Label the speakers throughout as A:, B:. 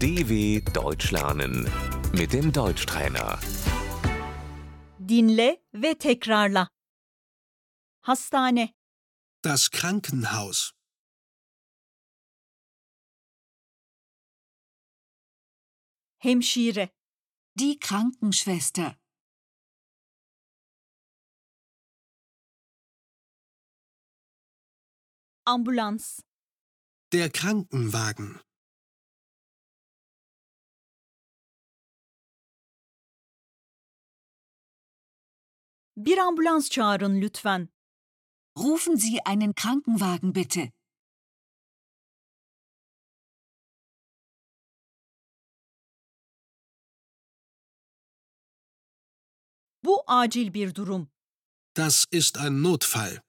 A: DW Deutsch lernen mit dem Deutschtrainer.
B: Dinle ve tekrarla. Hastane,
C: Das Krankenhaus.
B: hemşire,
D: Die Krankenschwester.
B: ambulans,
C: Der Krankenwagen.
B: bir ambulans çağırın lütfen.
D: Rufen Sie einen Krankenwagen bitte.
B: Bu acil bir durum.
C: Das ist ein Notfall.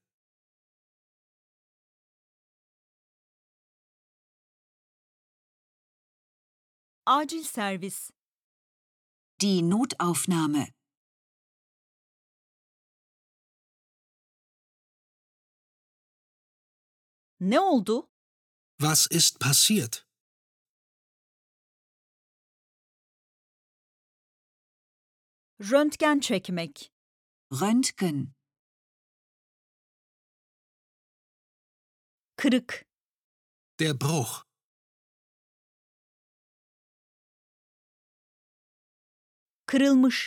B: Acil servis,
D: Die Notaufnahme.
B: ne oldu?
C: Was ist passiert?
B: Röntgen çekmek,
D: Röntgen.
B: kırık,
C: Der Bruch.
B: kırılmış,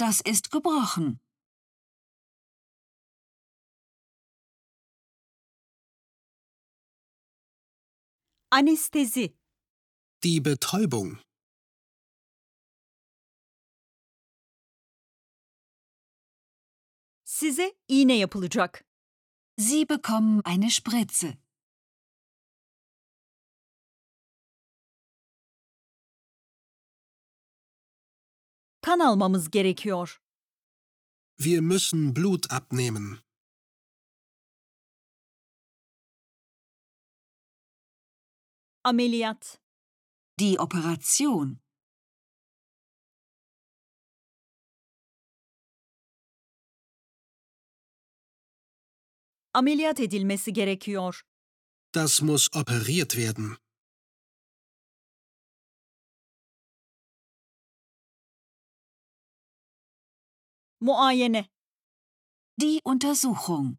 D: Das ist gebrochen.
B: anestezi,
C: Die Betäubung.
B: size iğne yapılacak.
D: Sie bekommen eine Spritze.
B: Kan almamız gerekiyor.
C: Wir müssen Blut abnehmen.
B: Ameliyat,
D: Die Operation.
B: ameliyat edilmesi gerekiyor.
C: Das muss operiert werden.
B: Muayene,
D: Die Untersuchung.